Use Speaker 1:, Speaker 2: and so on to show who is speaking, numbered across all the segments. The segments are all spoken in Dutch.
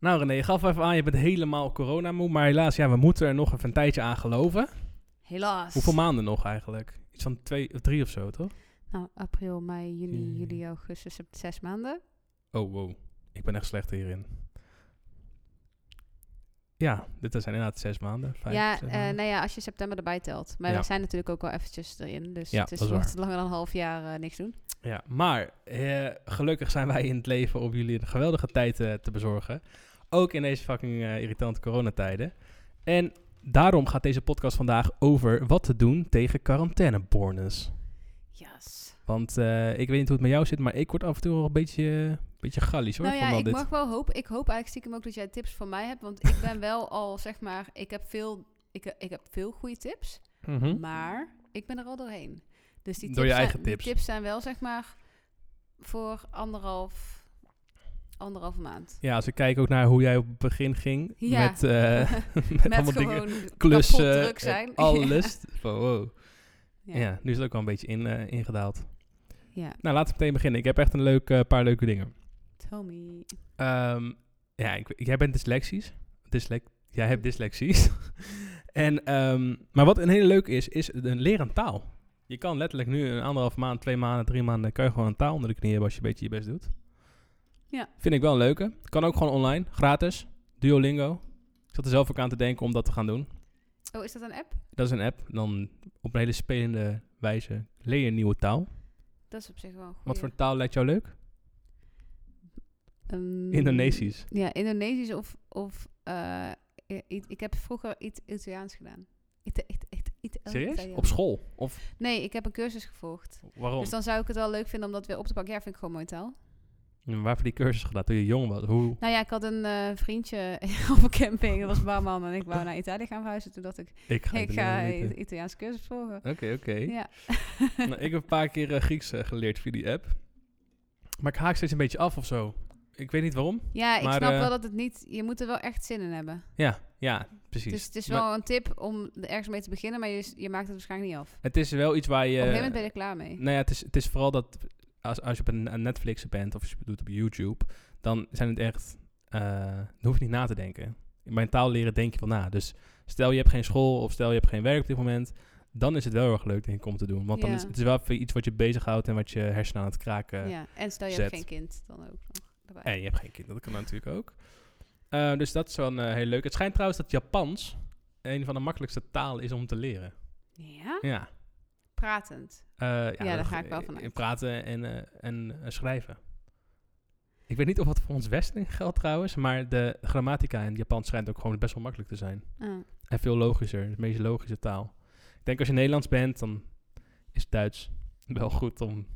Speaker 1: Nou René, je gaf even aan, je bent helemaal coronamoe. Maar helaas, ja, we moeten er nog even een tijdje aan geloven.
Speaker 2: Helaas.
Speaker 1: Hoeveel maanden nog eigenlijk? Iets van twee of drie of zo, toch?
Speaker 2: Nou, april, mei, juni,
Speaker 1: Juni.
Speaker 2: juli, augustus, sept- zes maanden.
Speaker 1: Oh, wow. Ik ben echt slecht hierin. Ja, dit zijn inderdaad zes maanden. Vijf,
Speaker 2: ja,
Speaker 1: zes
Speaker 2: eh,
Speaker 1: maanden.
Speaker 2: nou ja, als je september erbij telt. Maar
Speaker 1: Ja.
Speaker 2: we zijn natuurlijk ook wel eventjes erin. Dus
Speaker 1: Ja,
Speaker 2: het is,
Speaker 1: dat is
Speaker 2: wordt langer dan een half jaar eh, niks doen.
Speaker 1: Ja, maar eh, gelukkig zijn wij in het leven om jullie een geweldige tijd eh, te bezorgen. Ook in deze fucking eh, irritante coronatijden. En daarom gaat deze podcast vandaag over wat te doen tegen quarantainebornes.
Speaker 2: Yes.
Speaker 1: Want eh, ik weet niet hoe het met jou zit, maar ik word af en toe wel een beetje, beetje gallies hoor.
Speaker 2: Nou ja,
Speaker 1: van al
Speaker 2: ik
Speaker 1: dit.
Speaker 2: mag wel hopen. Ik hoop eigenlijk stiekem ook dat jij tips voor mij hebt. Want ik ben wel al, zeg maar, ik heb veel, ik, he- ik heb veel goede tips.
Speaker 1: Mhm.
Speaker 2: Maar ik ben er al doorheen. Dus die
Speaker 1: Door je
Speaker 2: tips, zijn,
Speaker 1: eigen
Speaker 2: die
Speaker 1: tips.
Speaker 2: tips zijn wel, zeg maar, voor anderhalf, anderhalve maand.
Speaker 1: Ja, als ik kijk ook naar hoe jij op het begin ging.
Speaker 2: Ja.
Speaker 1: Met, eh, met, allemaal dingen.
Speaker 2: gewoon
Speaker 1: Klussen.
Speaker 2: kapot druk
Speaker 1: en
Speaker 2: zijn.
Speaker 1: Alles. Van, wow.
Speaker 2: Ja.
Speaker 1: Ja. nu is het ook wel een beetje in, eh, ingedaald.
Speaker 2: Ja.
Speaker 1: Nou, laten we meteen beginnen. Ik heb echt een leuk, eh, paar leuke dingen.
Speaker 2: Tell me.
Speaker 1: Ehm, ja, ik, jij bent dyslexisch. Dyslec jij hebt dyslexies. en, ehm, maar wat een hele leuke is, is een leren taal. Je kan letterlijk nu een anderhalf maand, twee maanden, drie maanden... kan je gewoon een taal onder de knie hebben als je een beetje je best doet.
Speaker 2: Ja.
Speaker 1: Vind ik wel een leuke. Kan ook gewoon online, gratis. Duolingo. Ik zat er zelf ook aan te denken om dat te gaan doen.
Speaker 2: Oh, is dat een app?
Speaker 1: Dat is een app. Dan op een hele spelende wijze leer je een nieuwe taal.
Speaker 2: Dat is op zich wel een goede.
Speaker 1: Wat voor taal lijkt jou leuk? Indonesisch.
Speaker 2: Ehm, Ja, Indonesisch of... of eh, i- i- ik heb vroeger iets Italiaans gedaan. Ita- Ita- Ita- Ita-
Speaker 1: Serieus?
Speaker 2: oh, Italiaans.
Speaker 1: Op school? Of
Speaker 2: Nee, ik heb een cursus gevolgd.
Speaker 1: waarom?
Speaker 2: Dus dan zou ik het wel leuk vinden om dat weer op te pakken. Ja, vind ik gewoon mooi taal.
Speaker 1: Waarvoor Waar heb je die cursus gedaan toen je jong was? Hoe?
Speaker 2: Nou ja, ik had een eh, vriendje op een camping. Dat was barman en ik wou naar Italië gaan verhuizen. Toen dacht ik,
Speaker 1: Ik ga
Speaker 2: ik
Speaker 1: het
Speaker 2: ga
Speaker 1: niet weten.
Speaker 2: Italiaans Italiaanse cursus volgen.
Speaker 1: Oké, oké.
Speaker 2: Ja.
Speaker 1: Nou, Ik heb een paar keer eh, Grieks eh, geleerd via die app. Maar ik haak steeds een beetje af of zo. Ik weet niet waarom.
Speaker 2: ja, ik
Speaker 1: Maar,
Speaker 2: snap
Speaker 1: eh,
Speaker 2: wel dat het niet... Je moet er wel echt zin in hebben.
Speaker 1: Ja, ja, precies.
Speaker 2: Dus het is
Speaker 1: Maar
Speaker 2: wel een tip om er ergens mee te beginnen, maar je, je maakt het waarschijnlijk niet af.
Speaker 1: het is wel iets waar je...
Speaker 2: Op een gegeven moment ben je er klaar mee.
Speaker 1: Nou ja, het is, het is vooral dat als, als je op een, een Netflix bent of als je het doet op YouTube, dan zijn het echt, eh, dan hoef je niet na te denken. Bij een taal leren denk je wel na. Dus stel je hebt geen school of stel je hebt geen werk op dit moment, dan is het wel heel erg leuk denk ik om te doen. Want dan
Speaker 2: Ja.
Speaker 1: is het is wel even iets wat je bezighoudt en wat je hersenen aan het kraken.
Speaker 2: ja. En stel je hebt
Speaker 1: zet.
Speaker 2: geen kind, dan ook nog erbij.
Speaker 1: En je hebt geen kinderen, dat kan natuurlijk ook. Eh, dus dat is wel een, eh, heel leuk. Het schijnt trouwens dat Japans een van de makkelijkste talen is om te leren.
Speaker 2: Ja?
Speaker 1: Ja.
Speaker 2: Pratend.
Speaker 1: Eh,
Speaker 2: Ja, daar ga ik wel van uit.
Speaker 1: Praten en, eh, en eh, schrijven. Ik weet niet of dat voor ons Westen geldt trouwens, maar de grammatica in Japan schijnt ook gewoon best wel makkelijk te zijn.
Speaker 2: Ah,
Speaker 1: En veel logischer, de meest logische taal. Ik denk als je Nederlands bent, dan is Duits wel goed om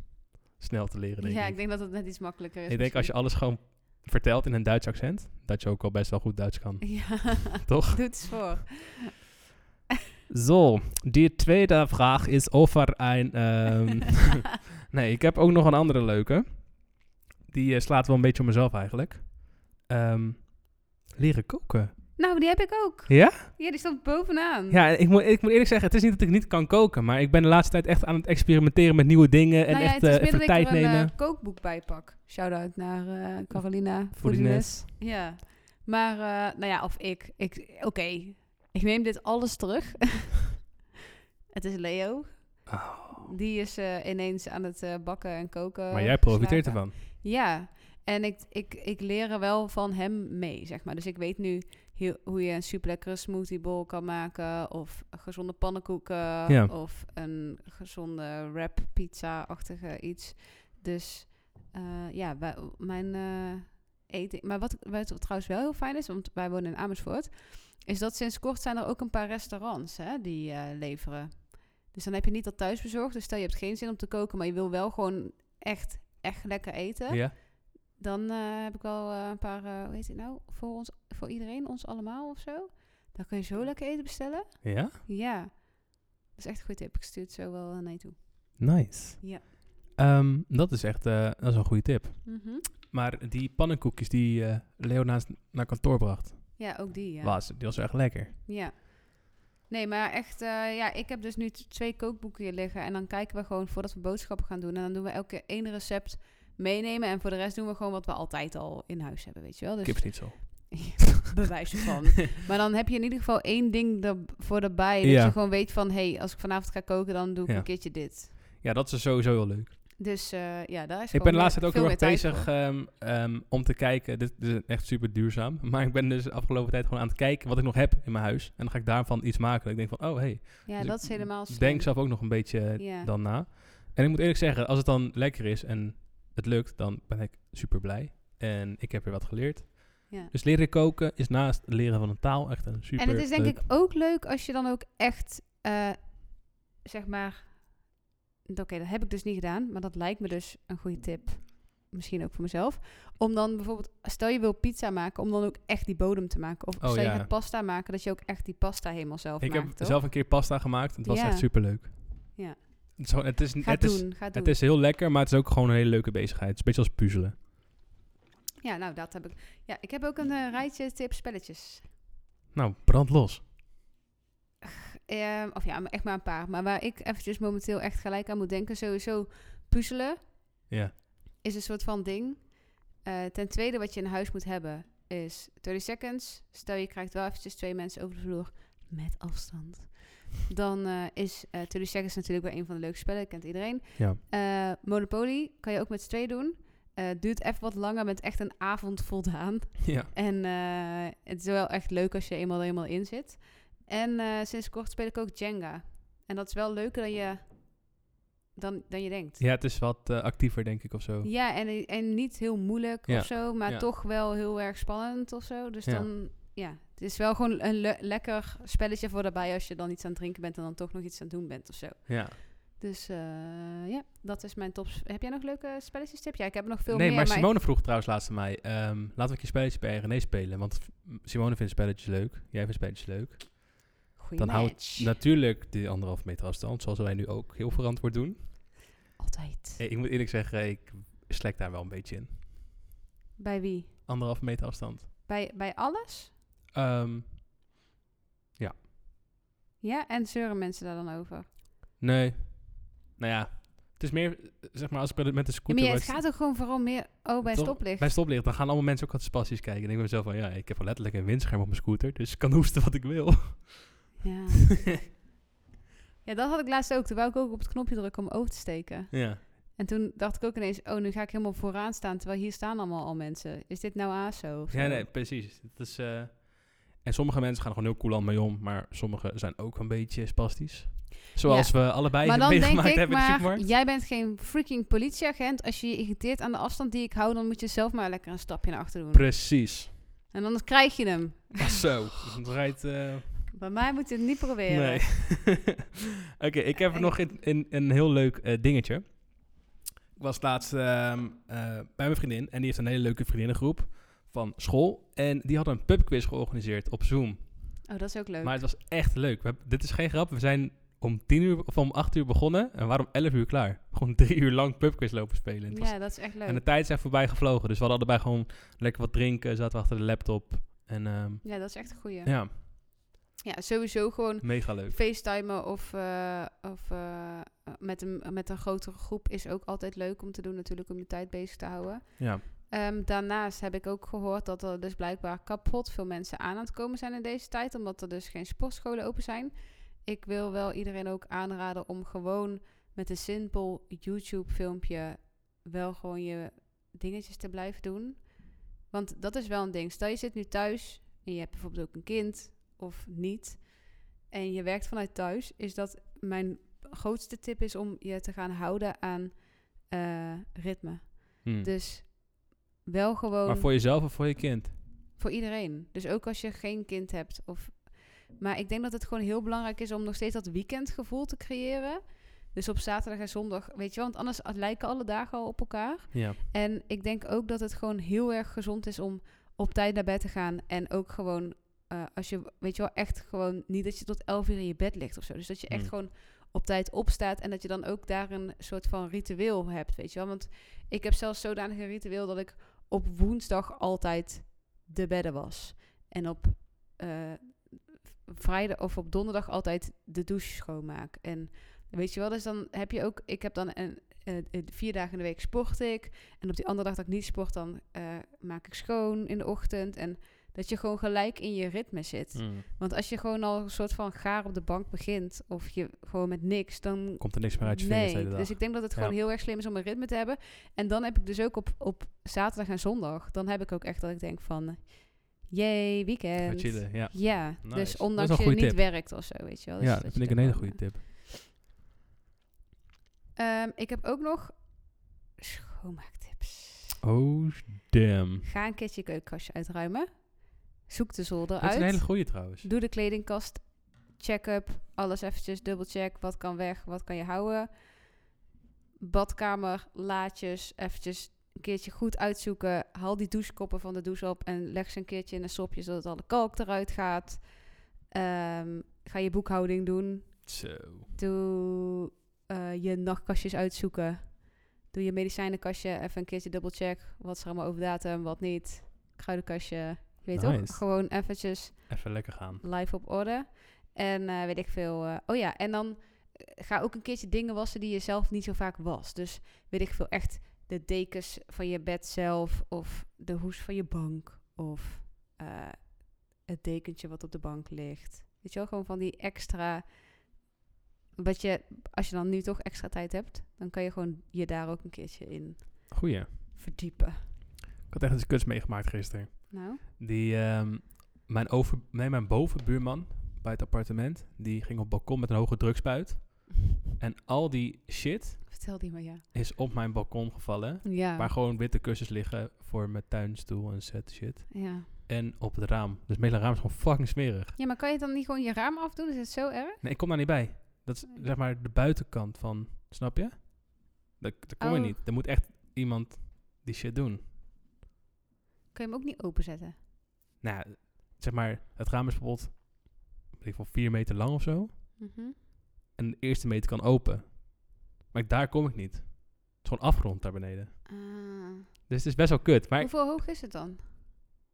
Speaker 1: snel te leren, denk
Speaker 2: Ja,
Speaker 1: ik.
Speaker 2: ik denk dat het net iets makkelijker is.
Speaker 1: ik denk als je alles gewoon vertelt in een Duits accent, dat je ook al best wel goed Duits kan.
Speaker 2: misschien. Ja,
Speaker 1: Toch?
Speaker 2: doe het eens voor.
Speaker 1: Zo, die tweede vraag is over een. ehm, nee, ik heb ook nog een andere leuke. Die eh, slaat wel een beetje om mezelf eigenlijk. Ehm, leren koken.
Speaker 2: Nou, die heb ik ook.
Speaker 1: Ja?
Speaker 2: Ja, die stond bovenaan.
Speaker 1: Ja, ik moet, ik moet eerlijk zeggen, het is niet dat ik niet kan koken, maar ik ben de laatste tijd echt aan het experimenteren met nieuwe dingen en
Speaker 2: nou ja,
Speaker 1: echt
Speaker 2: het is
Speaker 1: eh,
Speaker 2: meer dat
Speaker 1: even
Speaker 2: ik er
Speaker 1: tijd
Speaker 2: een
Speaker 1: nemen.
Speaker 2: eh, kookboek bij pak. Shout-out naar eh, Carolina
Speaker 1: Voor die
Speaker 2: Foodiness.
Speaker 1: net.
Speaker 2: Ja. Maar, eh, nou ja, of ik. ik Oké, ik neem dit alles terug. het is Leo.
Speaker 1: Oh.
Speaker 2: Die is eh, ineens aan het eh, bakken en koken.
Speaker 1: Maar jij profiteert
Speaker 2: geslagen.
Speaker 1: ervan.
Speaker 2: Ja, en ik, ik, ik leer er wel van hem mee, zeg maar. Dus ik weet nu heel, hoe je een super lekkere smoothie bowl kan maken. Of gezonde pannenkoeken.
Speaker 1: Ja.
Speaker 2: Of een gezonde wrap pizza-achtige iets. Dus eh, ja, wij- mijn eh eten... Maar wat, wat trouwens wel heel fijn is, want wij wonen in Amersfoort... is dat sinds kort zijn er ook een paar restaurants hè, die eh, leveren. Dus dan heb je niet dat thuisbezorgd. Dus stel je hebt geen zin om te koken, maar je wil wel gewoon echt, echt lekker eten.
Speaker 1: Ja?
Speaker 2: Dan eh, heb ik wel eh, een paar, eh, hoe heet het nou? Voor, ons, voor iedereen, ons allemaal of zo. Dan kun je zo lekker eten bestellen.
Speaker 1: Ja?
Speaker 2: Ja. Dat is echt een goede tip. Ik stuur het zo wel eh, naar je toe.
Speaker 1: Nice.
Speaker 2: Ja.
Speaker 1: Ehm, dat is echt eh, dat is een goede tip.
Speaker 2: Mhm.
Speaker 1: Maar die pannenkoekjes die eh Leo naast naar kantoor bracht,
Speaker 2: Ja, ook die. Ja.
Speaker 1: was, die was echt lekker.
Speaker 2: ja. Nee, maar echt, eh, ja, ik heb dus nu t- twee kookboeken hier liggen. En dan kijken we gewoon voordat we boodschappen gaan doen. En dan doen we elke keer één recept meenemen. En voor de rest doen we gewoon wat we altijd al in huis hebben, weet je wel. Dus
Speaker 1: Kipsnitzel.
Speaker 2: bewijzen van. maar dan heb je in ieder geval één ding er- voor erbij. Dat
Speaker 1: Ja.
Speaker 2: je gewoon weet van, hé, hey, als ik vanavond ga koken, dan doe ik
Speaker 1: Ja.
Speaker 2: een keertje dit.
Speaker 1: Ja, dat is sowieso heel leuk.
Speaker 2: Dus eh, ja, daar is
Speaker 1: Ik
Speaker 2: gewoon
Speaker 1: ben de
Speaker 2: meer-
Speaker 1: laatste tijd ook
Speaker 2: veel
Speaker 1: heel erg
Speaker 2: meer tijd
Speaker 1: bezig ehm, ehm, om te kijken. Dit, dit is echt super duurzaam. Maar ik ben dus de afgelopen tijd gewoon aan het kijken wat ik nog heb in mijn huis. En dan ga ik daarvan iets maken. Ik denk van, oh hey.
Speaker 2: voor. Ja,
Speaker 1: Dus
Speaker 2: dat
Speaker 1: ik
Speaker 2: is helemaal slim.
Speaker 1: Denk zelf ook nog een beetje eh,
Speaker 2: Ja.
Speaker 1: dan na. En ik moet eerlijk zeggen, als het dan lekker is en het lukt, dan ben ik super blij. En ik heb weer wat geleerd.
Speaker 2: Ja.
Speaker 1: Dus leren koken is naast het leren van een taal echt een super
Speaker 2: En het is denk
Speaker 1: leuk-
Speaker 2: ik ook leuk als je dan ook echt, eh, zeg maar... Oké, dat heb ik dus niet gedaan, maar dat lijkt me dus een goede tip. Misschien ook voor mezelf. Om dan bijvoorbeeld, stel je wil pizza maken, om dan ook echt die bodem te maken. Of
Speaker 1: Oh,
Speaker 2: stel
Speaker 1: ja.
Speaker 2: je gaat pasta maken, dat je ook echt die pasta helemaal zelf
Speaker 1: Ik
Speaker 2: maakt.
Speaker 1: heb
Speaker 2: toch?
Speaker 1: zelf een keer pasta gemaakt. Het was
Speaker 2: Ja.
Speaker 1: echt super leuk.
Speaker 2: Ja.
Speaker 1: Het is, gewoon- het is,
Speaker 2: Ga
Speaker 1: het, is,
Speaker 2: doen, ga doen.
Speaker 1: het is heel lekker, maar het is ook gewoon een hele leuke bezigheid. Het is een beetje als puzzelen.
Speaker 2: Ja, nou, dat heb ik. Ja, ik heb ook een eh, rijtje tips, spelletjes.
Speaker 1: Nou, brand los.
Speaker 2: Ehm, of ja, maar echt maar een paar. Maar waar ik eventjes momenteel echt gelijk aan moet denken, sowieso puzzelen
Speaker 1: Ja.
Speaker 2: is een soort van ding. Eh, ten tweede, wat je in huis moet hebben, is 30 seconds. Stel je krijgt wel eventjes twee mensen over de vloer met afstand. Dan eh, is eh 30 seconds natuurlijk weer een van de leukste spellen, kent iedereen.
Speaker 1: Ja.
Speaker 2: Eh, Monopoly kan je ook met z'n tweeën doen. Eh, duurt even wat langer met echt een avond voldaan.
Speaker 1: Ja.
Speaker 2: En eh, het is wel echt leuk als je eenmaal er helemaal in zit. En eh, sinds kort speel ik ook Jenga. En dat is wel leuker dan je, dan, dan je denkt.
Speaker 1: ja, het is wat eh, actiever, denk ik, of zo.
Speaker 2: Ja, en, en niet heel moeilijk
Speaker 1: Ja.
Speaker 2: of zo, maar
Speaker 1: Ja.
Speaker 2: toch wel heel erg spannend of zo. Dus
Speaker 1: Ja.
Speaker 2: dan, ja, het is wel gewoon een le- lekker spelletje voor daarbij als je dan iets aan het drinken bent en dan toch nog iets aan het doen bent of zo.
Speaker 1: Ja.
Speaker 2: Dus eh, ja, dat is mijn top. Heb jij nog leuke spelletjes tip? Ja, ik heb er nog veel
Speaker 1: nee,
Speaker 2: meer.
Speaker 1: maar
Speaker 2: maar ik-
Speaker 1: Simone vroeg trouwens laatst aan mij... ehm, laten we een keer spelletjes bij René spelen. Want v- Simone vindt spelletjes leuk. Jij vindt spelletjes leuk.
Speaker 2: Goeie
Speaker 1: dan houdt-
Speaker 2: match.
Speaker 1: Natuurlijk die anderhalve meter afstand, zoals wij nu ook heel verantwoord doen.
Speaker 2: Altijd.
Speaker 1: Eh, Ik moet eerlijk zeggen, ik slek daar wel een beetje in.
Speaker 2: Bij wie?
Speaker 1: Anderhalve meter afstand.
Speaker 2: Bij, bij alles?
Speaker 1: Ehm,
Speaker 2: Ja, en zeuren mensen daar dan over?
Speaker 1: nee. Nou ja, het is meer, eh, zeg maar, als ik bij de- met de
Speaker 2: Ja,
Speaker 1: scooter...
Speaker 2: maar ja, het
Speaker 1: was-
Speaker 2: gaat ook gewoon vooral meer... Oh, bij
Speaker 1: eh, Toch?
Speaker 2: stoplicht.
Speaker 1: Bij stoplicht, dan gaan allemaal mensen ook wat spassies kijken. En ik denk bij mezelf van, ja, ik heb wel letterlijk een windscherm op mijn scooter, dus ik kan hoesten wat ik wil.
Speaker 2: Ja. ja, dat had ik laatst ook. Toen wou ik ook op het knopje drukken om over te steken.
Speaker 1: ja.
Speaker 2: En toen dacht ik ook ineens... Oh, nu ga ik helemaal vooraan staan. Terwijl hier staan allemaal al mensen. Is dit nou ASO? of
Speaker 1: ja,
Speaker 2: zo?
Speaker 1: nee, precies. Het is, eh, en sommige mensen gaan er gewoon heel cool aan mee om, maar sommige zijn ook een beetje spastisch. Zoals we allebei
Speaker 2: Maar dan denk
Speaker 1: meegemaakt
Speaker 2: ik
Speaker 1: hebben in de
Speaker 2: maar...
Speaker 1: supermarkt.
Speaker 2: Jij bent geen freaking politieagent. Als je je irriteert aan de afstand die ik hou... dan moet je zelf maar lekker een stapje naar achter doen.
Speaker 1: Precies.
Speaker 2: En anders krijg je hem.
Speaker 1: Ah, Zo, het rijdt... eh,
Speaker 2: Bij mij moet je het niet proberen.
Speaker 1: Nee. Oké, ik heb er nog in, in, een heel leuk eh, dingetje. Ik was laatst ehm, eh, bij mijn vriendin en die heeft een hele leuke vriendinnengroep van school. En die had een pubquiz georganiseerd op Zoom.
Speaker 2: Oh, dat is ook leuk.
Speaker 1: Maar het was echt leuk. We hebben- dit is geen grap. We zijn om 10 uur of om 8 uur begonnen en waarom 11 uur klaar. Gewoon drie uur lang pubquiz lopen spelen. Het was-
Speaker 2: ja, dat is echt leuk.
Speaker 1: en de tijd zijn voorbij gevlogen. Dus we hadden allebei gewoon lekker wat drinken, zaten we achter de laptop. En ehm,
Speaker 2: Ja, dat is echt een goeie.
Speaker 1: ja,
Speaker 2: Ja, sowieso gewoon
Speaker 1: mega leuk.
Speaker 2: facetimen of, eh, of eh, met, een, met een grotere groep is ook altijd leuk om te doen natuurlijk om je tijd bezig te houden.
Speaker 1: Ja.
Speaker 2: Ehm, daarnaast heb ik ook gehoord dat er dus blijkbaar kapot veel mensen aan aan het komen zijn in deze tijd, omdat er dus geen sportscholen open zijn. Ik wil wel iedereen ook aanraden om gewoon met een simpel YouTube filmpje wel gewoon je dingetjes te blijven doen. Want dat is wel een ding. Stel je zit nu thuis en je hebt bijvoorbeeld ook een kind of niet. En je werkt vanuit thuis. Is dat mijn grootste tip is om je te gaan houden aan eh, ritme.
Speaker 1: Hm.
Speaker 2: Dus wel gewoon
Speaker 1: Maar
Speaker 2: voor...
Speaker 1: voor jezelf of voor je kind?
Speaker 2: iedereen. Dus ook als je geen kind hebt. Of... Maar ik denk dat het gewoon heel belangrijk is om nog steeds dat weekendgevoel te creëren. Dus op zaterdag en zondag, weet je wel, want anders lijken alle dagen al op elkaar.
Speaker 1: Ja.
Speaker 2: En ik denk ook dat het gewoon heel erg gezond is om op tijd naar bed te gaan. En ook gewoon, eh, als je, weet je wel, echt gewoon niet dat je tot elf uur in je bed ligt of zo. Dus dat je echt
Speaker 1: Hmm.
Speaker 2: gewoon op tijd opstaat en dat je dan ook daar een soort van ritueel hebt, weet je wel. Want ik heb zelfs zodanig een ritueel dat ik op woensdag altijd de bedden was. En op eh, vrijdag of op donderdag altijd de douche schoonmaak. En weet je wel, dus dan heb je ook, ik heb dan een, eh, eh, vier dagen in de week sport ik. En op die andere dag dat ik niet sport, dan eh, maak ik schoon in de ochtend. En Dat je gewoon gelijk in je ritme zit.
Speaker 1: Mm.
Speaker 2: Want als je gewoon al een soort van gaar op de bank begint, of je gewoon met niks, dan.
Speaker 1: Komt er niks meer uit je vingers de
Speaker 2: Nee,
Speaker 1: hele dag.
Speaker 2: dus ik denk dat het gewoon
Speaker 1: Ja.
Speaker 2: heel erg slim is om een ritme te hebben. En dan heb ik dus ook op, op zaterdag en zondag, dan heb ik ook echt dat ik denk van, jee,
Speaker 1: Even
Speaker 2: weekend.
Speaker 1: chillen, ja.
Speaker 2: Ja,
Speaker 1: Nice. Dat
Speaker 2: dus
Speaker 1: is
Speaker 2: ondanks
Speaker 1: een
Speaker 2: dat je
Speaker 1: goede
Speaker 2: niet
Speaker 1: tip.
Speaker 2: werkt of zo, weet je wel. Dus
Speaker 1: ja,
Speaker 2: je
Speaker 1: dat vind ik
Speaker 2: dan
Speaker 1: een hele
Speaker 2: gewoon,
Speaker 1: goede tip.
Speaker 2: eh, ehm, ik heb ook nog schoonmaaktips.
Speaker 1: Oh, damn.
Speaker 2: Ga een keertje je keukenkastje uitruimen. Zoek de zolder
Speaker 1: Dat is een
Speaker 2: uit.
Speaker 1: hele goede trouwens.
Speaker 2: Doe de kledingkast. Check-up. Alles eventjes dubbelcheck. Wat kan weg? Wat kan je houden? Badkamer, laadjes. Eventjes een keertje goed uitzoeken. Haal die douchekoppen van de douche op. En leg ze een keertje in een sopje, zodat alle kalk eruit gaat. Ehm, ga je boekhouding doen.
Speaker 1: Zo.
Speaker 2: Doe eh, je nachtkastjes uitzoeken. Doe je medicijnenkastje. Even een keertje dubbelcheck. Wat is er allemaal over datum, wat niet. Kruidenkastje. Je weet
Speaker 1: Nice.
Speaker 2: toch? Gewoon eventjes
Speaker 1: Even lekker gaan.
Speaker 2: live op orde. En eh, weet ik veel. eh, oh ja, en dan eh, ga ook een keertje dingen wassen die je zelf niet zo vaak was. Dus weet ik veel, echt de dekens van je bed zelf. Of de hoes van je bank. Of eh, het dekentje wat op de bank ligt. Weet je wel, gewoon van die extra... Wat je, als je dan nu toch extra tijd hebt, dan kan je gewoon je daar ook een keertje in
Speaker 1: Goeie.
Speaker 2: verdiepen.
Speaker 1: Ik had echt eens kuts meegemaakt gisteren.
Speaker 2: Nou,
Speaker 1: Die, ehm, mijn, over, nee, mijn bovenbuurman bij het appartement, die ging op het balkon met een hoge drukspuit. En al die shit
Speaker 2: vertel die maar ja.
Speaker 1: is op mijn balkon gevallen.
Speaker 2: Ja,
Speaker 1: Waar gewoon witte kussens liggen voor mijn tuinstoel en set shit.
Speaker 2: ja.
Speaker 1: En op het raam. Dus mijn hele raam is gewoon fucking smerig.
Speaker 2: ja maar kan je dan niet gewoon je raam afdoen? Is het zo erg?
Speaker 1: Nee, ik kom daar niet bij. Dat is zeg maar de buitenkant van, snap je? Daar, daar kom je
Speaker 2: Oh.
Speaker 1: niet. Er moet echt iemand die shit doen.
Speaker 2: Kan je hem ook niet openzetten?
Speaker 1: Nou, ja, zeg maar, het raam is bijvoorbeeld weet ik, van vier meter lang of zo. En de eerste meter kan open. Maar daar kom ik niet. Het is gewoon afgrond daar beneden. Dus het is best wel kut. Maar
Speaker 2: Ah. Hoeveel hoog is het dan?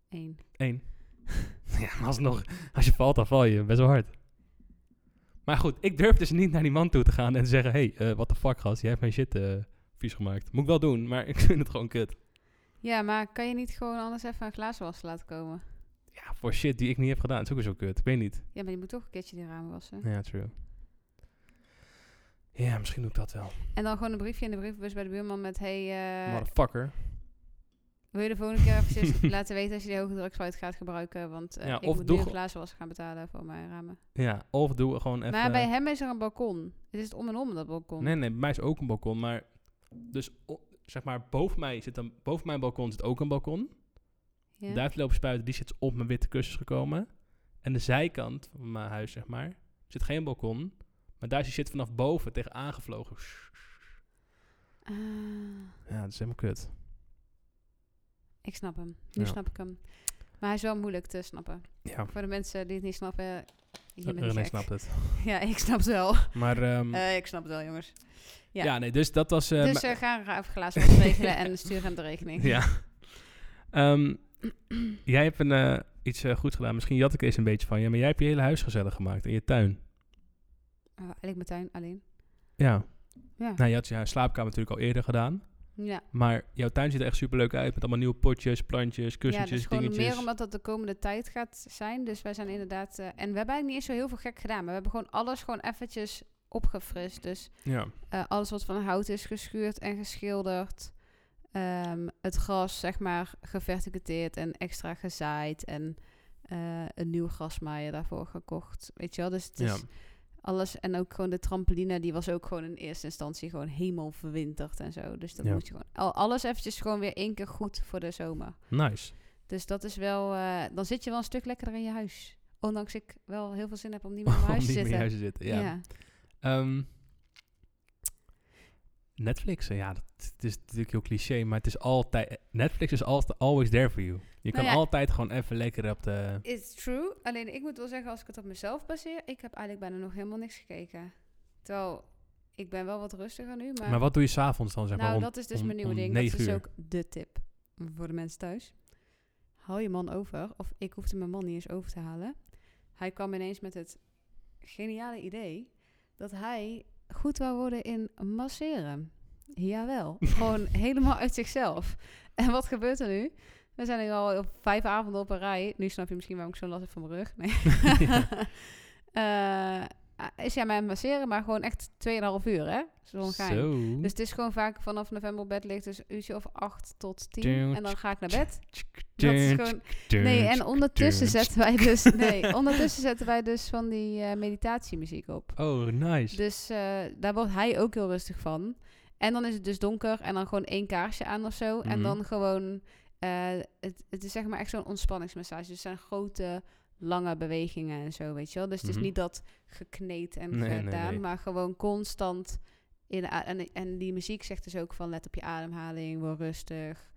Speaker 2: Eén.
Speaker 1: één. ja, maar alsnog, als je valt, dan val je best wel hard. Maar goed, ik durf dus niet naar die man toe te gaan en te zeggen... Hé, hey, wat de fuck, gast? Jij hebt mijn shit eh, vies gemaakt. Moet ik wel doen, maar ik vind het gewoon kut.
Speaker 2: Ja, maar kan je niet gewoon anders even een glazenwasser laten komen?
Speaker 1: Ja, voor shit die ik niet heb gedaan. Het is ook weer zo kut. Ik weet niet.
Speaker 2: Ja, maar je moet toch een keertje die ramen wassen.
Speaker 1: Ja, true. Ja, misschien doe ik dat wel.
Speaker 2: En dan gewoon een briefje in de brievenbus bij de buurman met... Hey, eh,
Speaker 1: Motherfucker.
Speaker 2: wil je de volgende keer eventjes laten weten als je die hoge drugspuit gaat gebruiken? Want eh,
Speaker 1: Ja,
Speaker 2: ik
Speaker 1: of
Speaker 2: moet
Speaker 1: doe
Speaker 2: nu een
Speaker 1: ge-
Speaker 2: glazenwasser gaan betalen voor mijn ramen.
Speaker 1: Ja, of doe gewoon even...
Speaker 2: Maar bij hem is er een balkon. Het is het om en om, dat balkon.
Speaker 1: Nee, nee, bij mij is ook een balkon, maar... Dus o- zeg maar, boven, mij zit een, boven mijn balkon zit ook een balkon.
Speaker 2: Ja?
Speaker 1: Daar heeft lopen spuiten, die zit op mijn witte kussens gekomen. En de zijkant van mijn huis, zeg maar, zit geen balkon. Maar daar is die shit vanaf boven tegen aangevlogen.
Speaker 2: Ah,
Speaker 1: Ja, dat is helemaal kut.
Speaker 2: ik snap hem. Nu
Speaker 1: Ja.
Speaker 2: snap ik hem. Maar hij is wel moeilijk te snappen.
Speaker 1: Ja,
Speaker 2: Voor de mensen die het niet snappen, je bent
Speaker 1: René
Speaker 2: gek.
Speaker 1: snapt het.
Speaker 2: Ja, ik snap het wel.
Speaker 1: Maar ehm,
Speaker 2: Eh, ik snap het wel, jongens.
Speaker 1: ja.
Speaker 2: ja.
Speaker 1: nee, dus dat was... eh,
Speaker 2: dus
Speaker 1: mijn-
Speaker 2: eh, ga een raafglazen wat regelen en stuur hem de rekening.
Speaker 1: Ja. Ehm, jij hebt een, eh, iets goed goeds gedaan. Misschien jat ik eens een beetje van je, maar jij hebt je hele huis gezellig gemaakt in je tuin.
Speaker 2: Oh, eigenlijk mijn tuin alleen.
Speaker 1: Ja.
Speaker 2: Ja.
Speaker 1: Nou, je had je slaapkamer natuurlijk al eerder gedaan.
Speaker 2: ja.
Speaker 1: Maar jouw tuin ziet er echt superleuk uit. Met allemaal nieuwe potjes, plantjes,
Speaker 2: ja, dat
Speaker 1: kussentjes,
Speaker 2: is gewoon
Speaker 1: dingetjes.
Speaker 2: meer omdat dat de komende tijd gaat zijn. Dus wij zijn inderdaad... eh, en we hebben eigenlijk niet eens zo heel veel gek gedaan. Maar we hebben gewoon alles gewoon eventjes opgefrist. Dus
Speaker 1: Ja.
Speaker 2: eh, alles wat van hout is geschuurd en geschilderd. Ehm, het gras, zeg maar, geverticuteerd en extra gezaaid. En eh, een nieuw grasmaaier daarvoor gekocht. Weet je wel? Dus het is...
Speaker 1: ja.
Speaker 2: alles. En ook gewoon de trampoline, die was ook gewoon in eerste instantie gewoon helemaal verwinterd en zo. Dus dat
Speaker 1: Ja.
Speaker 2: moet je gewoon... al- Alles eventjes gewoon weer één keer goed voor de zomer.
Speaker 1: Nice.
Speaker 2: Dus dat is wel... eh, dan zit je wel een stuk lekkerder in je huis. Ondanks ik wel heel veel zin heb om niet meer in mijn
Speaker 1: Om
Speaker 2: huis te
Speaker 1: niet meer in je
Speaker 2: zitten.
Speaker 1: huis te zitten. Ja. Ehm, Netflix, eh, ja, dat, het is natuurlijk heel cliché, maar het is altijd... Netflix is altijd always there for you. Je kan
Speaker 2: Nou ja.
Speaker 1: altijd gewoon even lekker op de...
Speaker 2: It's true. Alleen ik moet wel zeggen, als ik het op mezelf baseer... Ik heb eigenlijk bijna nog helemaal niks gekeken. Terwijl, ik ben wel wat rustiger nu, maar...
Speaker 1: Maar wat doe je s'avonds dan, zeg maar?
Speaker 2: nou,
Speaker 1: om-
Speaker 2: dat is dus
Speaker 1: om-
Speaker 2: mijn nieuwe
Speaker 1: om
Speaker 2: ding. Dat is
Speaker 1: negen
Speaker 2: dus
Speaker 1: uur?
Speaker 2: ook de tip voor de mensen thuis. Hou je man over. Of ik hoefde mijn man niet eens over te halen. Hij kwam ineens met het geniale idee dat hij goed wou worden in masseren. Jawel, gewoon helemaal uit zichzelf. En wat gebeurt er nu? We zijn hier al op vijf avonden op een rij. Nu snap je misschien waarom ik zo'n last heb van mijn rug. Nee. Eh, is jij mij aan het masseren, maar gewoon echt 2,5 uur, hè? Zo'n gein.
Speaker 1: Zo.
Speaker 2: Dus het is gewoon vaak vanaf november op bed ligt, dus een uurtje of 8 tot 10.
Speaker 1: Dun,
Speaker 2: En dan ga ik naar bed. Dat is gewoon... Nee, en ondertussen
Speaker 1: dun.
Speaker 2: zetten wij dus, nee, ondertussen zetten wij dus van die eh, meditatiemuziek op.
Speaker 1: Oh, nice.
Speaker 2: Dus eh, daar wordt hij ook heel rustig van. En dan is het dus donker en dan gewoon één kaarsje aan of zo. En
Speaker 1: Mhm.
Speaker 2: dan gewoon, eh, het, het is zeg maar echt zo'n ontspanningsmassage. Dus het zijn grote, lange bewegingen en zo, weet je wel. Dus het
Speaker 1: Mhm.
Speaker 2: is niet dat gekneed en
Speaker 1: Nee, nee,
Speaker 2: gedaan,
Speaker 1: nee.
Speaker 2: maar gewoon constant. In de a- en, en die muziek zegt dus ook van let op je ademhaling, word rustig.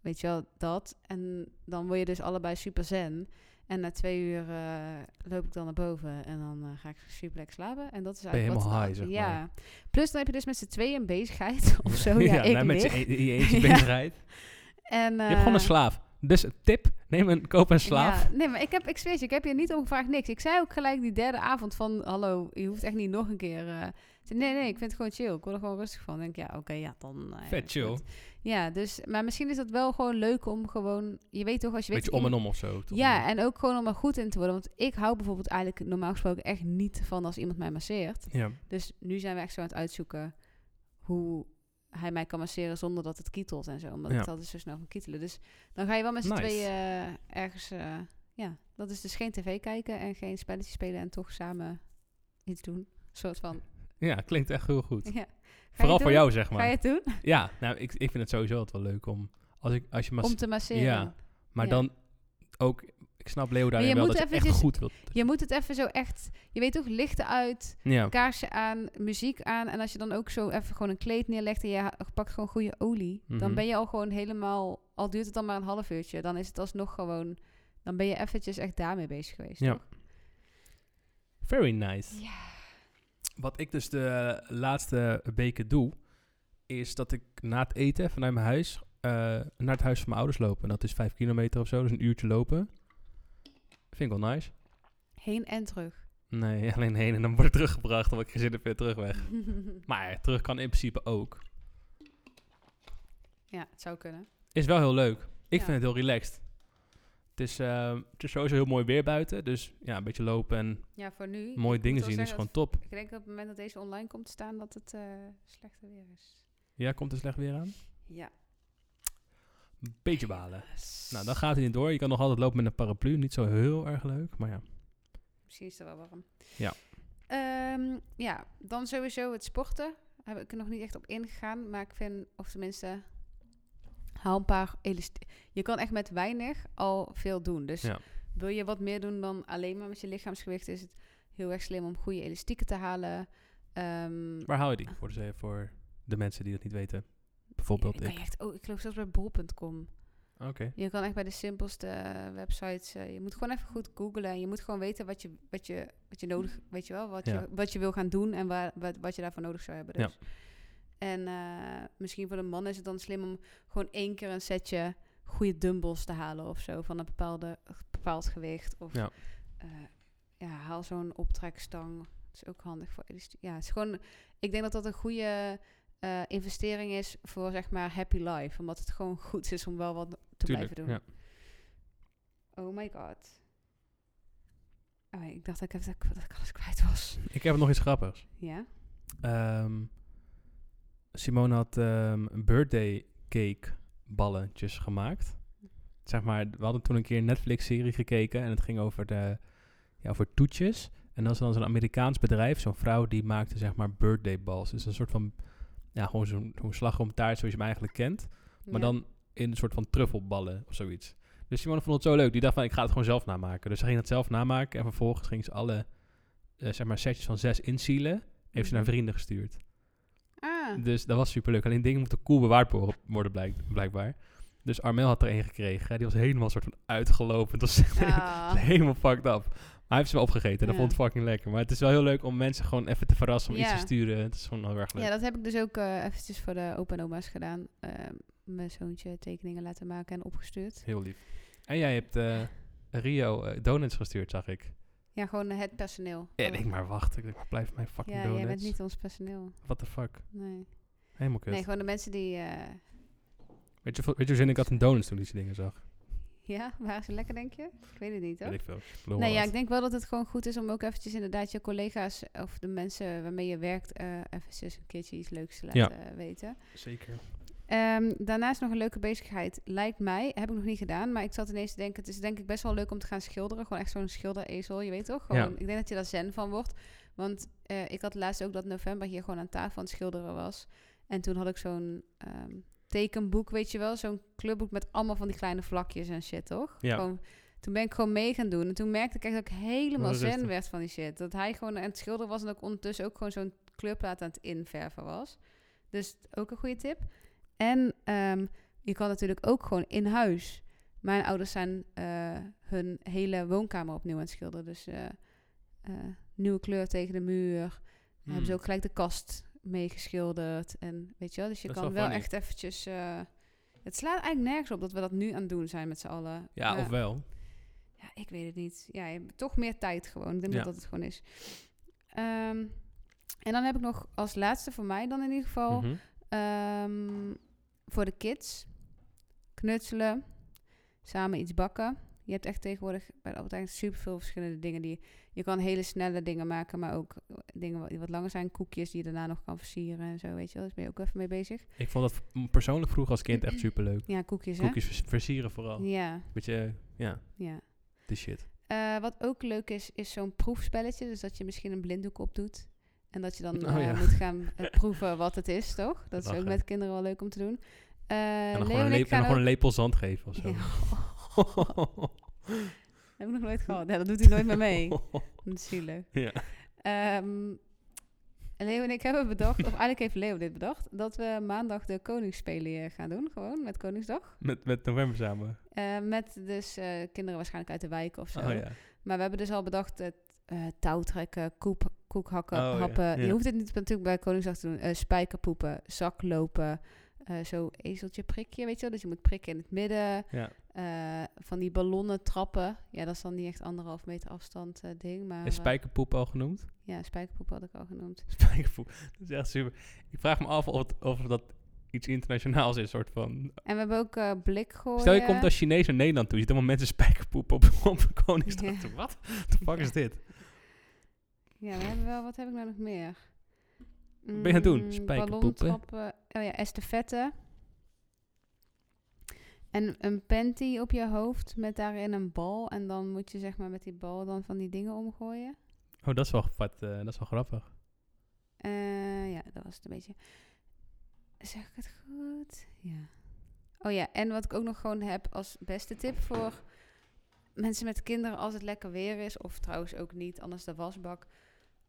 Speaker 2: Weet je wel, dat. En dan word je dus allebei super zen. En na twee uur eh, loop ik dan naar boven en dan eh, ga ik super lekker slapen. En dat is
Speaker 1: je
Speaker 2: eigenlijk wat
Speaker 1: helemaal
Speaker 2: een-
Speaker 1: high, zeg
Speaker 2: Ja.
Speaker 1: maar.
Speaker 2: Plus dan heb je dus met z'n tweeën een bezigheid of zo. Ja, ik
Speaker 1: nou, met
Speaker 2: weer.
Speaker 1: je e- je eentje
Speaker 2: Ja.
Speaker 1: bezigheid.
Speaker 2: En,
Speaker 1: Je hebt gewoon een
Speaker 2: eh,
Speaker 1: slaaf. Dus tip, neem een, koop een slaaf.
Speaker 2: Ja, nee, maar ik heb, ik zweer het je, ik heb je niet om gevraagd, niks. Ik zei ook gelijk die derde avond van, hallo, je hoeft echt niet nog een keer... eh, te- nee, nee, ik vind het gewoon chill. Ik word er gewoon rustig van. denk ik, ja, oké, ja, dan... eh,
Speaker 1: Vet chill.
Speaker 2: goed. Ja, dus, maar misschien is dat wel gewoon leuk om gewoon... Je weet toch, als je weet...
Speaker 1: Beetje
Speaker 2: dat
Speaker 1: om en
Speaker 2: iemand-
Speaker 1: om of zo. toch?
Speaker 2: Ja, en ook gewoon om er goed in te worden. Want ik hou bijvoorbeeld eigenlijk normaal gesproken echt niet van als iemand mij masseert.
Speaker 1: Ja.
Speaker 2: Dus nu zijn we echt zo aan het uitzoeken hoe hij mij kan masseren zonder dat het kietelt en zo. Omdat
Speaker 1: Ja.
Speaker 2: ik het altijd zo snel kan kietelen. Dus dan ga je wel met z'n
Speaker 1: Nice.
Speaker 2: tweeën eh, ergens... eh, ja, dat is dus geen tv kijken en geen spelletje spelen en toch samen iets doen. Een soort van...
Speaker 1: ja, klinkt echt heel goed.
Speaker 2: Ja. Ga je
Speaker 1: Vooral
Speaker 2: het
Speaker 1: voor
Speaker 2: doen?
Speaker 1: jou, zeg
Speaker 2: Ga je
Speaker 1: maar.
Speaker 2: het doen?
Speaker 1: Ja, nou, ik, ik vind het sowieso altijd wel leuk om... Als, ik, als je mas-
Speaker 2: Om te masseren.
Speaker 1: Ja. maar
Speaker 2: ja.
Speaker 1: dan ook... Ik snap Leo daarin
Speaker 2: je
Speaker 1: wel
Speaker 2: moet
Speaker 1: dat je echt
Speaker 2: eventjes-
Speaker 1: goed wilt.
Speaker 2: Je moet het even zo echt... Je weet toch, lichten uit...
Speaker 1: Ja,
Speaker 2: kaarsen aan, muziek aan. En als je dan ook zo even gewoon een kleed neerlegt en je ha- pakt gewoon goede olie,
Speaker 1: Mhm.
Speaker 2: dan ben je al gewoon helemaal. Al duurt het dan maar een half uurtje, dan is het alsnog gewoon. Dan ben je eventjes echt daarmee bezig geweest.
Speaker 1: Ja.
Speaker 2: toch?
Speaker 1: very nice.
Speaker 2: Ja.
Speaker 1: Wat ik dus de laatste weken doe... is dat ik na het eten vanuit mijn huis... eh, naar het huis van mijn ouders loop. En dat is vijf kilometer of zo, dus een uurtje lopen. Vind ik wel nice.
Speaker 2: Heen en terug.
Speaker 1: Nee, alleen heen en dan wordt het teruggebracht... omdat ik geen zin heb weer terugweg. Maar terug kan in principe ook.
Speaker 2: ja, het zou kunnen.
Speaker 1: Is wel heel leuk. Ik
Speaker 2: Ja.
Speaker 1: vind het heel relaxed. Het is, ehm, het is sowieso heel mooi weer buiten. Dus ja, een beetje lopen en
Speaker 2: Ja, voor nu. ik
Speaker 1: mooie
Speaker 2: moet
Speaker 1: dingen
Speaker 2: wel
Speaker 1: zien is
Speaker 2: zeggen
Speaker 1: gewoon
Speaker 2: dat-
Speaker 1: top.
Speaker 2: Ik denk dat op het moment dat deze online komt te staan, dat het eh, slechter weer is.
Speaker 1: Ja, komt er slecht weer aan?
Speaker 2: Ja.
Speaker 1: Beetje balen. Nou, dan gaat het niet door. Je kan nog altijd lopen met een paraplu. Niet zo heel erg leuk, maar ja.
Speaker 2: Misschien is het wel warm.
Speaker 1: Ja.
Speaker 2: Ehm, ja, dan sowieso het sporten. Daar heb ik er nog niet echt op ingegaan. Maar ik vind, of tenminste, haal een paar elast- Je kan echt met weinig al veel doen. Dus
Speaker 1: Ja.
Speaker 2: wil je wat meer doen dan alleen maar met je lichaamsgewicht, is het heel erg slim om goede elastieken te halen. Ehm,
Speaker 1: Waar haal je die voor de, voor de mensen die dat niet weten? Bijvoorbeeld
Speaker 2: ja, dan kan
Speaker 1: ik.
Speaker 2: je echt, oh, ik geloof zelfs bij bol.com.
Speaker 1: Oké.
Speaker 2: Je kan echt bij de simpelste eh, websites. eh, je moet gewoon even goed googlen. En je moet gewoon weten wat je, wat je, wat je nodig Weet je wel, wat,
Speaker 1: Ja.
Speaker 2: je, wat je wil gaan doen en waar, wat, wat je daarvoor nodig zou hebben.
Speaker 1: Ja.
Speaker 2: Dus. En eh, misschien voor de man is het dan slim om gewoon één keer een setje goede dumbbells te halen of zo. Van een bepaalde, bepaald gewicht. Of
Speaker 1: Ja.
Speaker 2: eh, ja, haal zo'n optrekstang. Dat is ook handig voor. elastiek. Ja, het is gewoon. Ik denk dat dat een goede eh, investering is voor zeg maar happy life. Omdat het gewoon goed is om wel wat te
Speaker 1: Tuurlijk.
Speaker 2: blijven doen.
Speaker 1: Ja.
Speaker 2: Oh my god. Oh, ik dacht dat ik, even, dat ik alles kwijt was.
Speaker 1: Ik heb nog iets grappigs.
Speaker 2: Ja?
Speaker 1: Ehm, Simone had ehm, birthday cake balletjes gemaakt. Zeg maar, we hadden toen een keer een Netflix-serie gekeken en het ging over, de, ja, over toetjes. En dat is dan zo'n Amerikaans bedrijf, zo'n vrouw die maakte zeg maar birthday balls. Dus een soort van, ja, gewoon zo'n zo'n slagroomtaart zoals je hem eigenlijk kent. Maar dan in een soort van truffelballen of zoiets. Dus Simone vond het zo leuk. Die dacht van, ik ga het gewoon zelf namaken. Dus ze ging het zelf namaken. En vervolgens ging ze alle, eh, zeg maar, setjes van zes inzielen. Heeft ze naar
Speaker 2: Mhm.
Speaker 1: vrienden gestuurd.
Speaker 2: Ah,
Speaker 1: Dus dat was super leuk. Alleen dingen moeten cool bewaard wo- worden, blijk- blijkbaar. Dus Armel had er één gekregen. Die was helemaal soort van uitgelopen. Dat was echt
Speaker 2: ah.
Speaker 1: helemaal fucked up. Maar hij heeft ze wel opgegeten. Dat
Speaker 2: Ja.
Speaker 1: vond het fucking lekker. Maar het is wel heel leuk om mensen gewoon even te verrassen om iets
Speaker 2: Ja.
Speaker 1: te sturen. Het is gewoon heel erg leuk.
Speaker 2: Ja, dat heb ik dus ook eh, eventjes voor de opa en oma's gedaan. Eh, mijn zoontje tekeningen laten maken en opgestuurd.
Speaker 1: Heel lief. En jij hebt eh, Rio eh, donuts gestuurd, zag ik.
Speaker 2: Ja, gewoon eh, het personeel.
Speaker 1: Ja, ik denk maar wacht. Ik denk, maar blijf mijn fucking
Speaker 2: Ja, jij bent
Speaker 1: donuts.
Speaker 2: niet ons personeel.
Speaker 1: What the fuck?
Speaker 2: Nee,
Speaker 1: Helemaal kut.
Speaker 2: nee gewoon de mensen die... eh,
Speaker 1: Weet je, hoe- weet je hoe zin ik had in donuts toen ik die dingen zag?
Speaker 2: Ja, waren ze lekker, denk je? Ik weet het niet, hoor.
Speaker 1: Weet ik veel. Ik lul
Speaker 2: Nee,
Speaker 1: maar
Speaker 2: ja,
Speaker 1: wat.
Speaker 2: ik denk wel dat het gewoon goed is om ook eventjes inderdaad je collega's of de mensen waarmee je werkt eh eventjes een keertje iets leuks te
Speaker 1: Ja.
Speaker 2: laten eh, weten.
Speaker 1: Zeker.
Speaker 2: Ehm, daarnaast nog een leuke bezigheid, lijkt mij. Heb ik nog niet gedaan, maar ik zat ineens te denken, het is denk ik best wel leuk om te gaan schilderen. Gewoon echt zo'n schilderezel, je weet toch? Gewoon,
Speaker 1: Ja.
Speaker 2: Ik denk dat je daar zen van wordt. Want eh, ik had laatst ook dat november hier gewoon aan tafel aan het schilderen was. En toen had ik zo'n ehm, tekenboek, weet je wel? Zo'n clubboek met allemaal van die kleine vlakjes en shit, toch?
Speaker 1: Ja.
Speaker 2: Gewoon, toen ben ik gewoon mee gaan doen. En toen merkte ik echt dat ik helemaal
Speaker 1: Wat is het?
Speaker 2: zen werd van die shit. Dat hij gewoon aan het schilderen was en dat ik ondertussen ook gewoon zo'n kleurplaat aan het inverven was. Dus ook een goede tip. En ehm, je kan natuurlijk ook gewoon in huis. Mijn ouders zijn eh, hun hele woonkamer opnieuw aan het schilderen. Dus eh, eh, nieuwe kleur tegen de muur. Hebben
Speaker 1: Hmm.
Speaker 2: ze ook gelijk de kast meegeschilderd. En weet je wel, dus je
Speaker 1: Dat is
Speaker 2: kan
Speaker 1: wel
Speaker 2: wel
Speaker 1: funny.
Speaker 2: echt eventjes... eh, het slaat eigenlijk nergens op dat we dat nu aan het doen zijn met z'n allen.
Speaker 1: Ja,
Speaker 2: Maar-
Speaker 1: ofwel.
Speaker 2: ja, ik weet het niet. Ja, je hebt toch meer tijd gewoon. Ik denk
Speaker 1: Ja.
Speaker 2: dat dat het gewoon is. Ehm, en dan heb ik nog als laatste voor mij dan in ieder geval...
Speaker 1: Mhm.
Speaker 2: Ehm, voor de kids. Knutselen. Samen iets bakken. Je hebt echt tegenwoordig bij de Albert Heijn super veel verschillende dingen. Die, je kan hele snelle dingen maken, maar ook dingen wat- die wat langer zijn. Koekjes die je daarna nog kan versieren en zo, weet je wel. Daar ben je ook even mee bezig.
Speaker 1: Ik vond dat v- persoonlijk vroeger als kind echt superleuk.
Speaker 2: Ja, koekjes, hè?
Speaker 1: Koekjes vers- versieren vooral.
Speaker 2: Ja,
Speaker 1: Beetje, eh, ja,
Speaker 2: ja.
Speaker 1: de shit.
Speaker 2: Eh, wat ook leuk is, is zo'n proefspelletje. Dus dat je misschien een blinddoek opdoet. En dat je dan
Speaker 1: Oh,
Speaker 2: eh,
Speaker 1: ja.
Speaker 2: moet gaan eh, proeven wat het is, toch? Dat is ook
Speaker 1: Lachen.
Speaker 2: met kinderen wel leuk om te doen. Eh,
Speaker 1: En
Speaker 2: Leo
Speaker 1: dan, gewoon een,
Speaker 2: en ik
Speaker 1: lepel, en dan
Speaker 2: gaan
Speaker 1: gewoon een lepel zand geven of zo.
Speaker 2: Ja. Heb ik nog nooit gehad. Ja, dat doet hij nooit meer mee. Dat is zielig.
Speaker 1: ja.
Speaker 2: Ehm, Leo en ik hebben bedacht, of eigenlijk heeft Leo dit bedacht, dat we maandag de Koningsspelen eh, gaan doen. Gewoon met Koningsdag.
Speaker 1: Met, met november samen.
Speaker 2: Eh, met dus eh, kinderen waarschijnlijk uit de wijk of zo.
Speaker 1: Oh ja.
Speaker 2: Maar we hebben dus al bedacht het eh touwtrekken, koep, koekhakken,
Speaker 1: Oh, ja.
Speaker 2: happen.
Speaker 1: Ja.
Speaker 2: Je hoeft het niet natuurlijk bij Koningsdag te doen. Eh, spijkerpoepen, zaklopen, eh zo ezeltje prikje, weet je wel. Dus je moet prikken in het midden.
Speaker 1: Ja.
Speaker 2: Eh, van die ballonnen trappen. Ja, dat is dan niet echt anderhalf meter afstand eh, ding. Maar
Speaker 1: Is
Speaker 2: eh,
Speaker 1: spijkerpoep al genoemd?
Speaker 2: ja, spijkerpoepen had ik al genoemd.
Speaker 1: Spijkerpoep. Dat is echt super. Ik vraag me af of, het- of dat iets internationaals is. Soort van.
Speaker 2: En we hebben ook eh blik gooien.
Speaker 1: Stel je komt als Chinees naar Nederland toe. Je ziet allemaal mensen spijkerpoep op, op Koningsdag.
Speaker 2: Ja.
Speaker 1: Wat? de fuck is dit?
Speaker 2: Ja, we hebben wel... Wat heb ik nou nog meer? Wat
Speaker 1: ben je aan het doen? Spijkerpoepen?
Speaker 2: trappen. Oh ja, estafette. En een panty op je hoofd met daarin een bal. En dan moet je zeg maar met die bal dan van die dingen omgooien.
Speaker 1: Oh, dat is wel, wat, eh, dat is wel grappig.
Speaker 2: Eh, ja, dat was het een beetje. Zeg ik het goed? Ja. Oh ja, en wat ik ook nog gewoon heb als beste tip voor mensen met kinderen als het lekker weer is, of trouwens ook niet, anders de wasbak,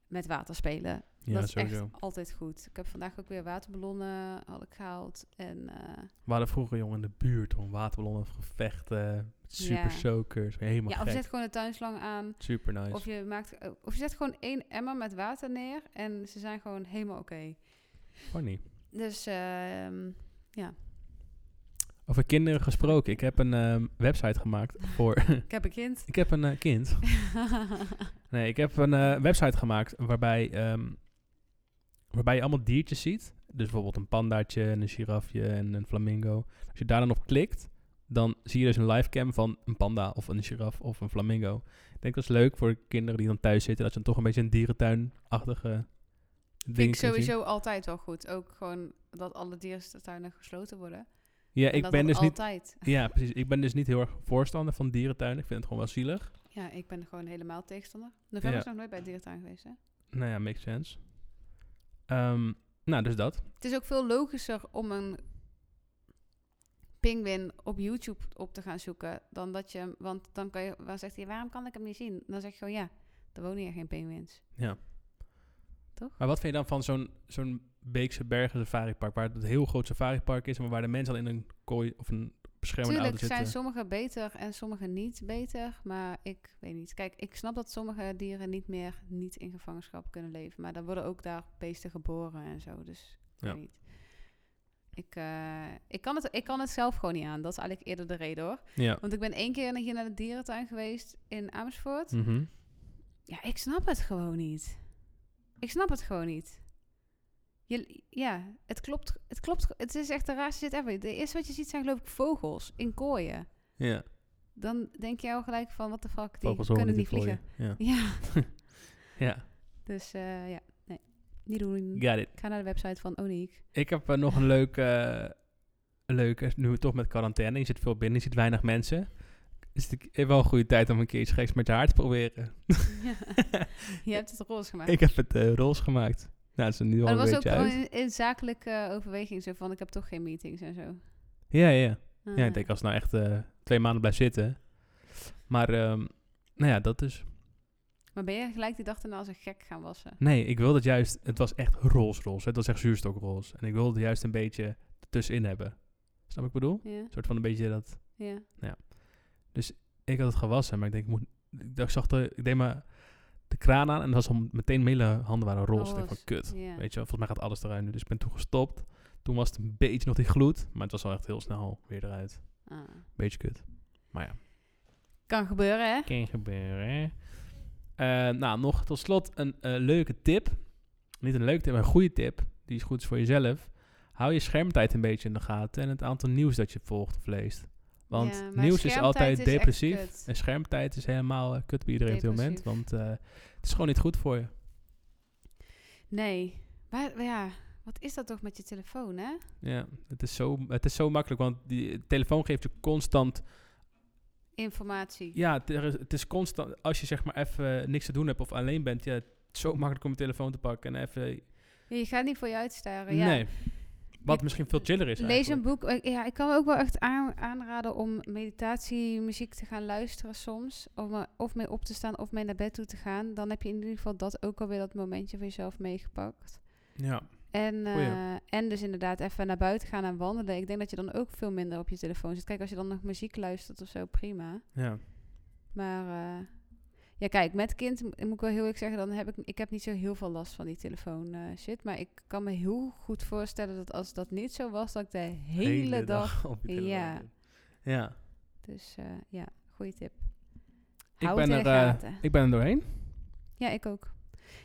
Speaker 2: met water spelen.
Speaker 1: Ja,
Speaker 2: dat is
Speaker 1: sowieso.
Speaker 2: echt altijd goed. Ik heb vandaag ook weer waterballonnen had ik gehaald. En eh,
Speaker 1: We hadden vroeger jongen in de buurt om waterballonnen gevechten. Super
Speaker 2: Ja.
Speaker 1: soakers. Helemaal
Speaker 2: ja, of je
Speaker 1: gek.
Speaker 2: zet gewoon de tuinslang aan.
Speaker 1: Super nice.
Speaker 2: Of je, maakt, eh, of je zet gewoon één emmer met water neer. En ze zijn gewoon helemaal oké.
Speaker 1: Funny.
Speaker 2: Dus ehm,
Speaker 1: Over kinderen gesproken. Ik heb een ehm, website gemaakt voor...
Speaker 2: ik heb een kind.
Speaker 1: ik heb een eh, kind. Nee, ik heb een eh, website gemaakt waarbij, ehm, waarbij je allemaal diertjes ziet. Dus bijvoorbeeld een pandaatje en een girafje en een flamingo. Als je daar dan op klikt, dan zie je dus een livecam van een panda of een giraf of een flamingo. Ik denk dat is leuk voor kinderen die dan thuis zitten. Dat ze dan toch een beetje een dierentuinachtige
Speaker 2: Vind
Speaker 1: ding
Speaker 2: ik sowieso altijd wel goed. Ook gewoon dat alle dierentuinen gesloten worden.
Speaker 1: Ja,
Speaker 2: En
Speaker 1: ik
Speaker 2: dat
Speaker 1: ben
Speaker 2: dat
Speaker 1: dus niet...
Speaker 2: altijd.
Speaker 1: Ja, precies. Ik ben dus niet heel erg voorstander van dierentuinen. Ik vind het gewoon wel zielig.
Speaker 2: Ja, ik ben gewoon helemaal tegenstander. November
Speaker 1: Ja.
Speaker 2: is nog nooit bij de dierentuin geweest, hè?
Speaker 1: Nou ja, makes sense. Ehm, nou, dus dat.
Speaker 2: Het is ook veel logischer om een pinguïn op YouTube op te gaan zoeken dan dat je hem, want dan kan je, dan zegt hij, waarom kan ik hem niet zien? Dan zeg je gewoon ja, er wonen hier geen pinguïns.
Speaker 1: Ja.
Speaker 2: Toch?
Speaker 1: Maar wat vind je dan van zo'n zo'n Beekse Bergen safaripark, waar het een heel groot safaripark is, maar waar de mensen al in een kooi of een beschermende
Speaker 2: Tuurlijk
Speaker 1: auto
Speaker 2: zijn
Speaker 1: zitten?
Speaker 2: sommige beter en sommige niet beter, maar ik weet niet. Kijk, ik snap dat sommige dieren niet meer niet in gevangenschap kunnen leven, maar dan worden ook daar beesten geboren en zo, dus ik weet
Speaker 1: Ja.
Speaker 2: niet. Ik, eh, ik, kan het, ik kan het zelf gewoon niet aan. Dat is eigenlijk eerder de reden hoor.
Speaker 1: Ja.
Speaker 2: Want ik ben één keer hier naar de dierentuin geweest in Amersfoort.
Speaker 1: Mhm.
Speaker 2: Ja, ik snap het gewoon niet. Ik snap het gewoon niet. Je, ja, het klopt, het klopt. Het is echt de raarste shit ever. De eerste wat je ziet zijn geloof ik vogels in kooien.
Speaker 1: ja.
Speaker 2: dan denk je al gelijk van, wat de fuck, die
Speaker 1: Vogels horen
Speaker 2: kunnen niet
Speaker 1: niet
Speaker 2: vliegen.
Speaker 1: te vlooien.
Speaker 2: Ja,
Speaker 1: Ja.
Speaker 2: dus eh, ja, nee, niet doen.
Speaker 1: ja, got it.
Speaker 2: Ga naar de website van Oniek.
Speaker 1: Ik heb eh, nog een leuke, eh, een leuke, nu we toch met quarantaine, je zit veel binnen, je ziet weinig mensen. Is het een- wel een goede tijd om een keer iets geks met je haar te proberen.
Speaker 2: Ja. Je hebt het roze gemaakt.
Speaker 1: Ik heb het eh roze gemaakt. Nou, het is er nu al
Speaker 2: maar
Speaker 1: een
Speaker 2: dat was
Speaker 1: beetje
Speaker 2: ook
Speaker 1: uit.
Speaker 2: gewoon in, in zakelijke overweging zo van, ik heb toch geen meetings en zo.
Speaker 1: Ja, ja, ja.
Speaker 2: Ah,
Speaker 1: Ja, ik denk als het nou echt eh, twee maanden blijft zitten. Maar, ehm, nou ja, dat dus.
Speaker 2: Maar ben je gelijk die dag daarna als een gek gaan wassen?
Speaker 1: Nee, ik wilde het juist, het was echt roze roze. Het was echt zuurstokroze. En ik wilde het juist een beetje tussenin hebben. Snap ik wat ik bedoel?
Speaker 2: Ja,
Speaker 1: Een soort van een beetje dat
Speaker 2: ja.
Speaker 1: Ik had het gewassen, maar ik denk, ik moet. Ik, dacht, ik zag de, ik deed maar de kraan aan en dat was al meteen mijn hele handen waren roze. Ik denk van
Speaker 2: Roze,
Speaker 1: kut.
Speaker 2: ja.
Speaker 1: Weet je, wel, volgens mij gaat alles eruit nu. Dus ik ben toen gestopt. Toen was het een beetje nog die gloed, maar het was al echt heel snel weer eruit.
Speaker 2: Ah.
Speaker 1: Beetje kut. Maar ja.
Speaker 2: Kan gebeuren, hè?
Speaker 1: Kan gebeuren. hè? Eh, nou, nog tot slot een eh, leuke tip. Niet een leuke tip, maar een goede tip. Die is goed voor jezelf. Hou je schermtijd een beetje in de gaten en het aantal nieuws dat je volgt of leest. Want
Speaker 2: Ja, maar
Speaker 1: nieuws is
Speaker 2: schermtijd
Speaker 1: altijd
Speaker 2: is echt
Speaker 1: depressief.
Speaker 2: kut.
Speaker 1: En schermtijd is helemaal eh, kut bij iedereen op dit moment. Want eh, het is gewoon niet goed voor je.
Speaker 2: Nee. Maar, maar ja, wat is dat toch met je telefoon, hè?
Speaker 1: Ja, het is zo, het is zo makkelijk. Want die telefoon geeft je constant
Speaker 2: Informatie.
Speaker 1: Ja, het er is, het is constant. Als je zeg maar even niks te doen hebt of alleen bent, ja, het is zo makkelijk om je telefoon te pakken en even.
Speaker 2: Je gaat niet voor je uitstaren, ja.
Speaker 1: Nee. Wat
Speaker 2: Je-
Speaker 1: misschien veel chiller is.
Speaker 2: Lees een boek. Eh, Ja, ik kan me ook wel echt aan- aanraden om meditatiemuziek te gaan luisteren soms. Om er of mee op te staan of mee naar bed toe te gaan. Dan heb je in ieder geval dat ook alweer dat momentje voor jezelf meegepakt.
Speaker 1: boek. Ja.
Speaker 2: En,
Speaker 1: Goeie.
Speaker 2: eh, en dus inderdaad even naar buiten gaan en wandelen. Ik denk dat je dan ook veel minder op je telefoon zit. Kijk, als je dan nog muziek luistert of zo, prima.
Speaker 1: ja.
Speaker 2: Maar eh, ja, kijk, met kind mo- moet ik wel heel eerlijk zeggen, dan heb ik, ik heb niet zo heel veel last van die telefoon eh, shit. Maar ik kan me heel goed voorstellen dat als dat niet zo was, dat ik de hele, dag.
Speaker 1: op je telefoon.
Speaker 2: telefoon ja.
Speaker 1: Ja.
Speaker 2: zit. Dus eh, ja, goede tip.
Speaker 1: Ik
Speaker 2: Hou
Speaker 1: ben,
Speaker 2: het
Speaker 1: er,
Speaker 2: in de
Speaker 1: eh,
Speaker 2: gaten.
Speaker 1: ik ben er doorheen.
Speaker 2: Ja, ik ook.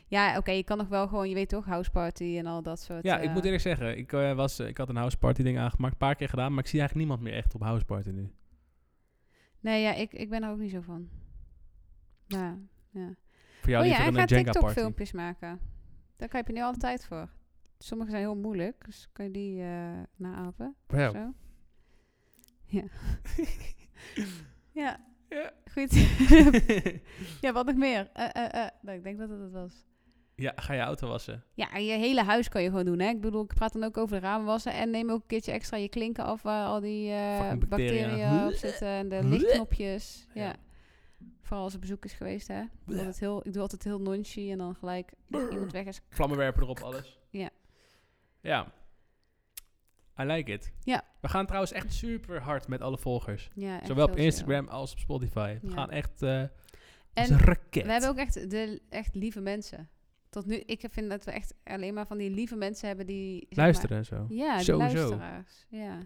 Speaker 2: Ja, oké, je kan nog wel gewoon, je weet toch, houseparty en al dat soort.
Speaker 1: ja, ik
Speaker 2: eh,
Speaker 1: moet eerlijk zeggen, ik, eh, was, eh, ik had een houseparty ding aangemaakt, een paar keer gedaan, maar ik zie eigenlijk niemand meer echt op houseparty nu.
Speaker 2: Nee, ja, ik, ik ben er ook niet zo van. Ja, ja.
Speaker 1: Voor jou
Speaker 2: oh ja,
Speaker 1: liever
Speaker 2: hij
Speaker 1: een
Speaker 2: gaat
Speaker 1: Jenga party.
Speaker 2: TikTok-filmpjes maken. Daar heb je nu al de tijd voor. Sommige zijn heel moeilijk, dus kun je die eh naapen.
Speaker 1: Ja.
Speaker 2: Zo. Ja. ja.
Speaker 1: Ja.
Speaker 2: Goed. ja, wat nog meer? Eh, eh, eh. Nou, ik denk dat dat het was.
Speaker 1: ja, ga je auto wassen.
Speaker 2: Ja, en je hele huis kan je gewoon doen. Hè? Ik bedoel, ik praat dan ook over de ramen wassen. En neem ook een keertje extra je klinken af waar al die eh,
Speaker 1: Fucking bacteriën.
Speaker 2: bacteriën, op zitten. En de lichtknopjes. Ja. Vooral als er bezoek is geweest, hè. Ik doe altijd heel, ik doe altijd heel nonchie en dan gelijk als iemand weg is.
Speaker 1: Vlammenwerper erop, alles.
Speaker 2: Ja.
Speaker 1: Ja. I like it.
Speaker 2: Ja.
Speaker 1: We gaan trouwens echt super hard met alle volgers.
Speaker 2: Ja, echt
Speaker 1: Zowel op
Speaker 2: heel chill.
Speaker 1: Instagram als op Spotify. We
Speaker 2: Ja.
Speaker 1: gaan echt eh als
Speaker 2: En
Speaker 1: een raket.
Speaker 2: We hebben ook echt, de, echt lieve mensen. Tot nu, ik vind dat we echt alleen maar van die lieve mensen hebben die... zeg maar-
Speaker 1: Luisteren en zo.
Speaker 2: ja, die
Speaker 1: Sowieso.
Speaker 2: luisteraars. Ja.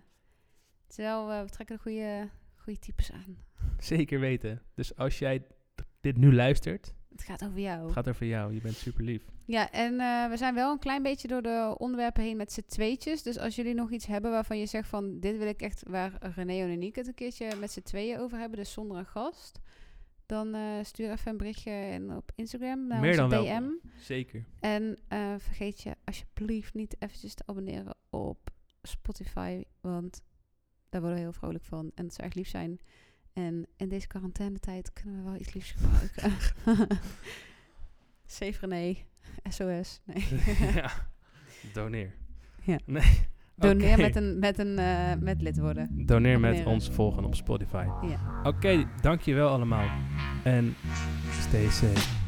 Speaker 2: Terwijl eh, we trekken de goede, goede types aan.
Speaker 1: Zeker weten. Dus als jij d- dit nu luistert,
Speaker 2: Het gaat over jou.
Speaker 1: het gaat over jou. Je bent super lief.
Speaker 2: Ja, en eh, we zijn wel een klein beetje door de onderwerpen heen met z'n tweetjes. Dus als jullie nog iets hebben waarvan je zegt van... dit wil ik echt waar René en Unique het een keertje met z'n tweeën over hebben... dus zonder een gast... dan eh, stuur even een berichtje en op Instagram naar
Speaker 1: Meer
Speaker 2: onze
Speaker 1: dan
Speaker 2: DM.
Speaker 1: welkom. Zeker.
Speaker 2: En eh, vergeet je alsjeblieft niet eventjes te abonneren op Spotify, want daar worden we heel vrolijk van en dat zou echt lief zijn. En in deze quarantainetijd kunnen we wel iets liefs gebruiken. Safe René, SOS, nee.
Speaker 1: ja. Doneer.
Speaker 2: Ja.
Speaker 1: Nee.
Speaker 2: Doneer
Speaker 1: Oké.
Speaker 2: met, een, met, een, eh, met lid worden.
Speaker 1: Doneer met
Speaker 2: Abonneren.
Speaker 1: ons volgen op Spotify.
Speaker 2: Ja.
Speaker 1: Oké, dankjewel allemaal. En stay safe.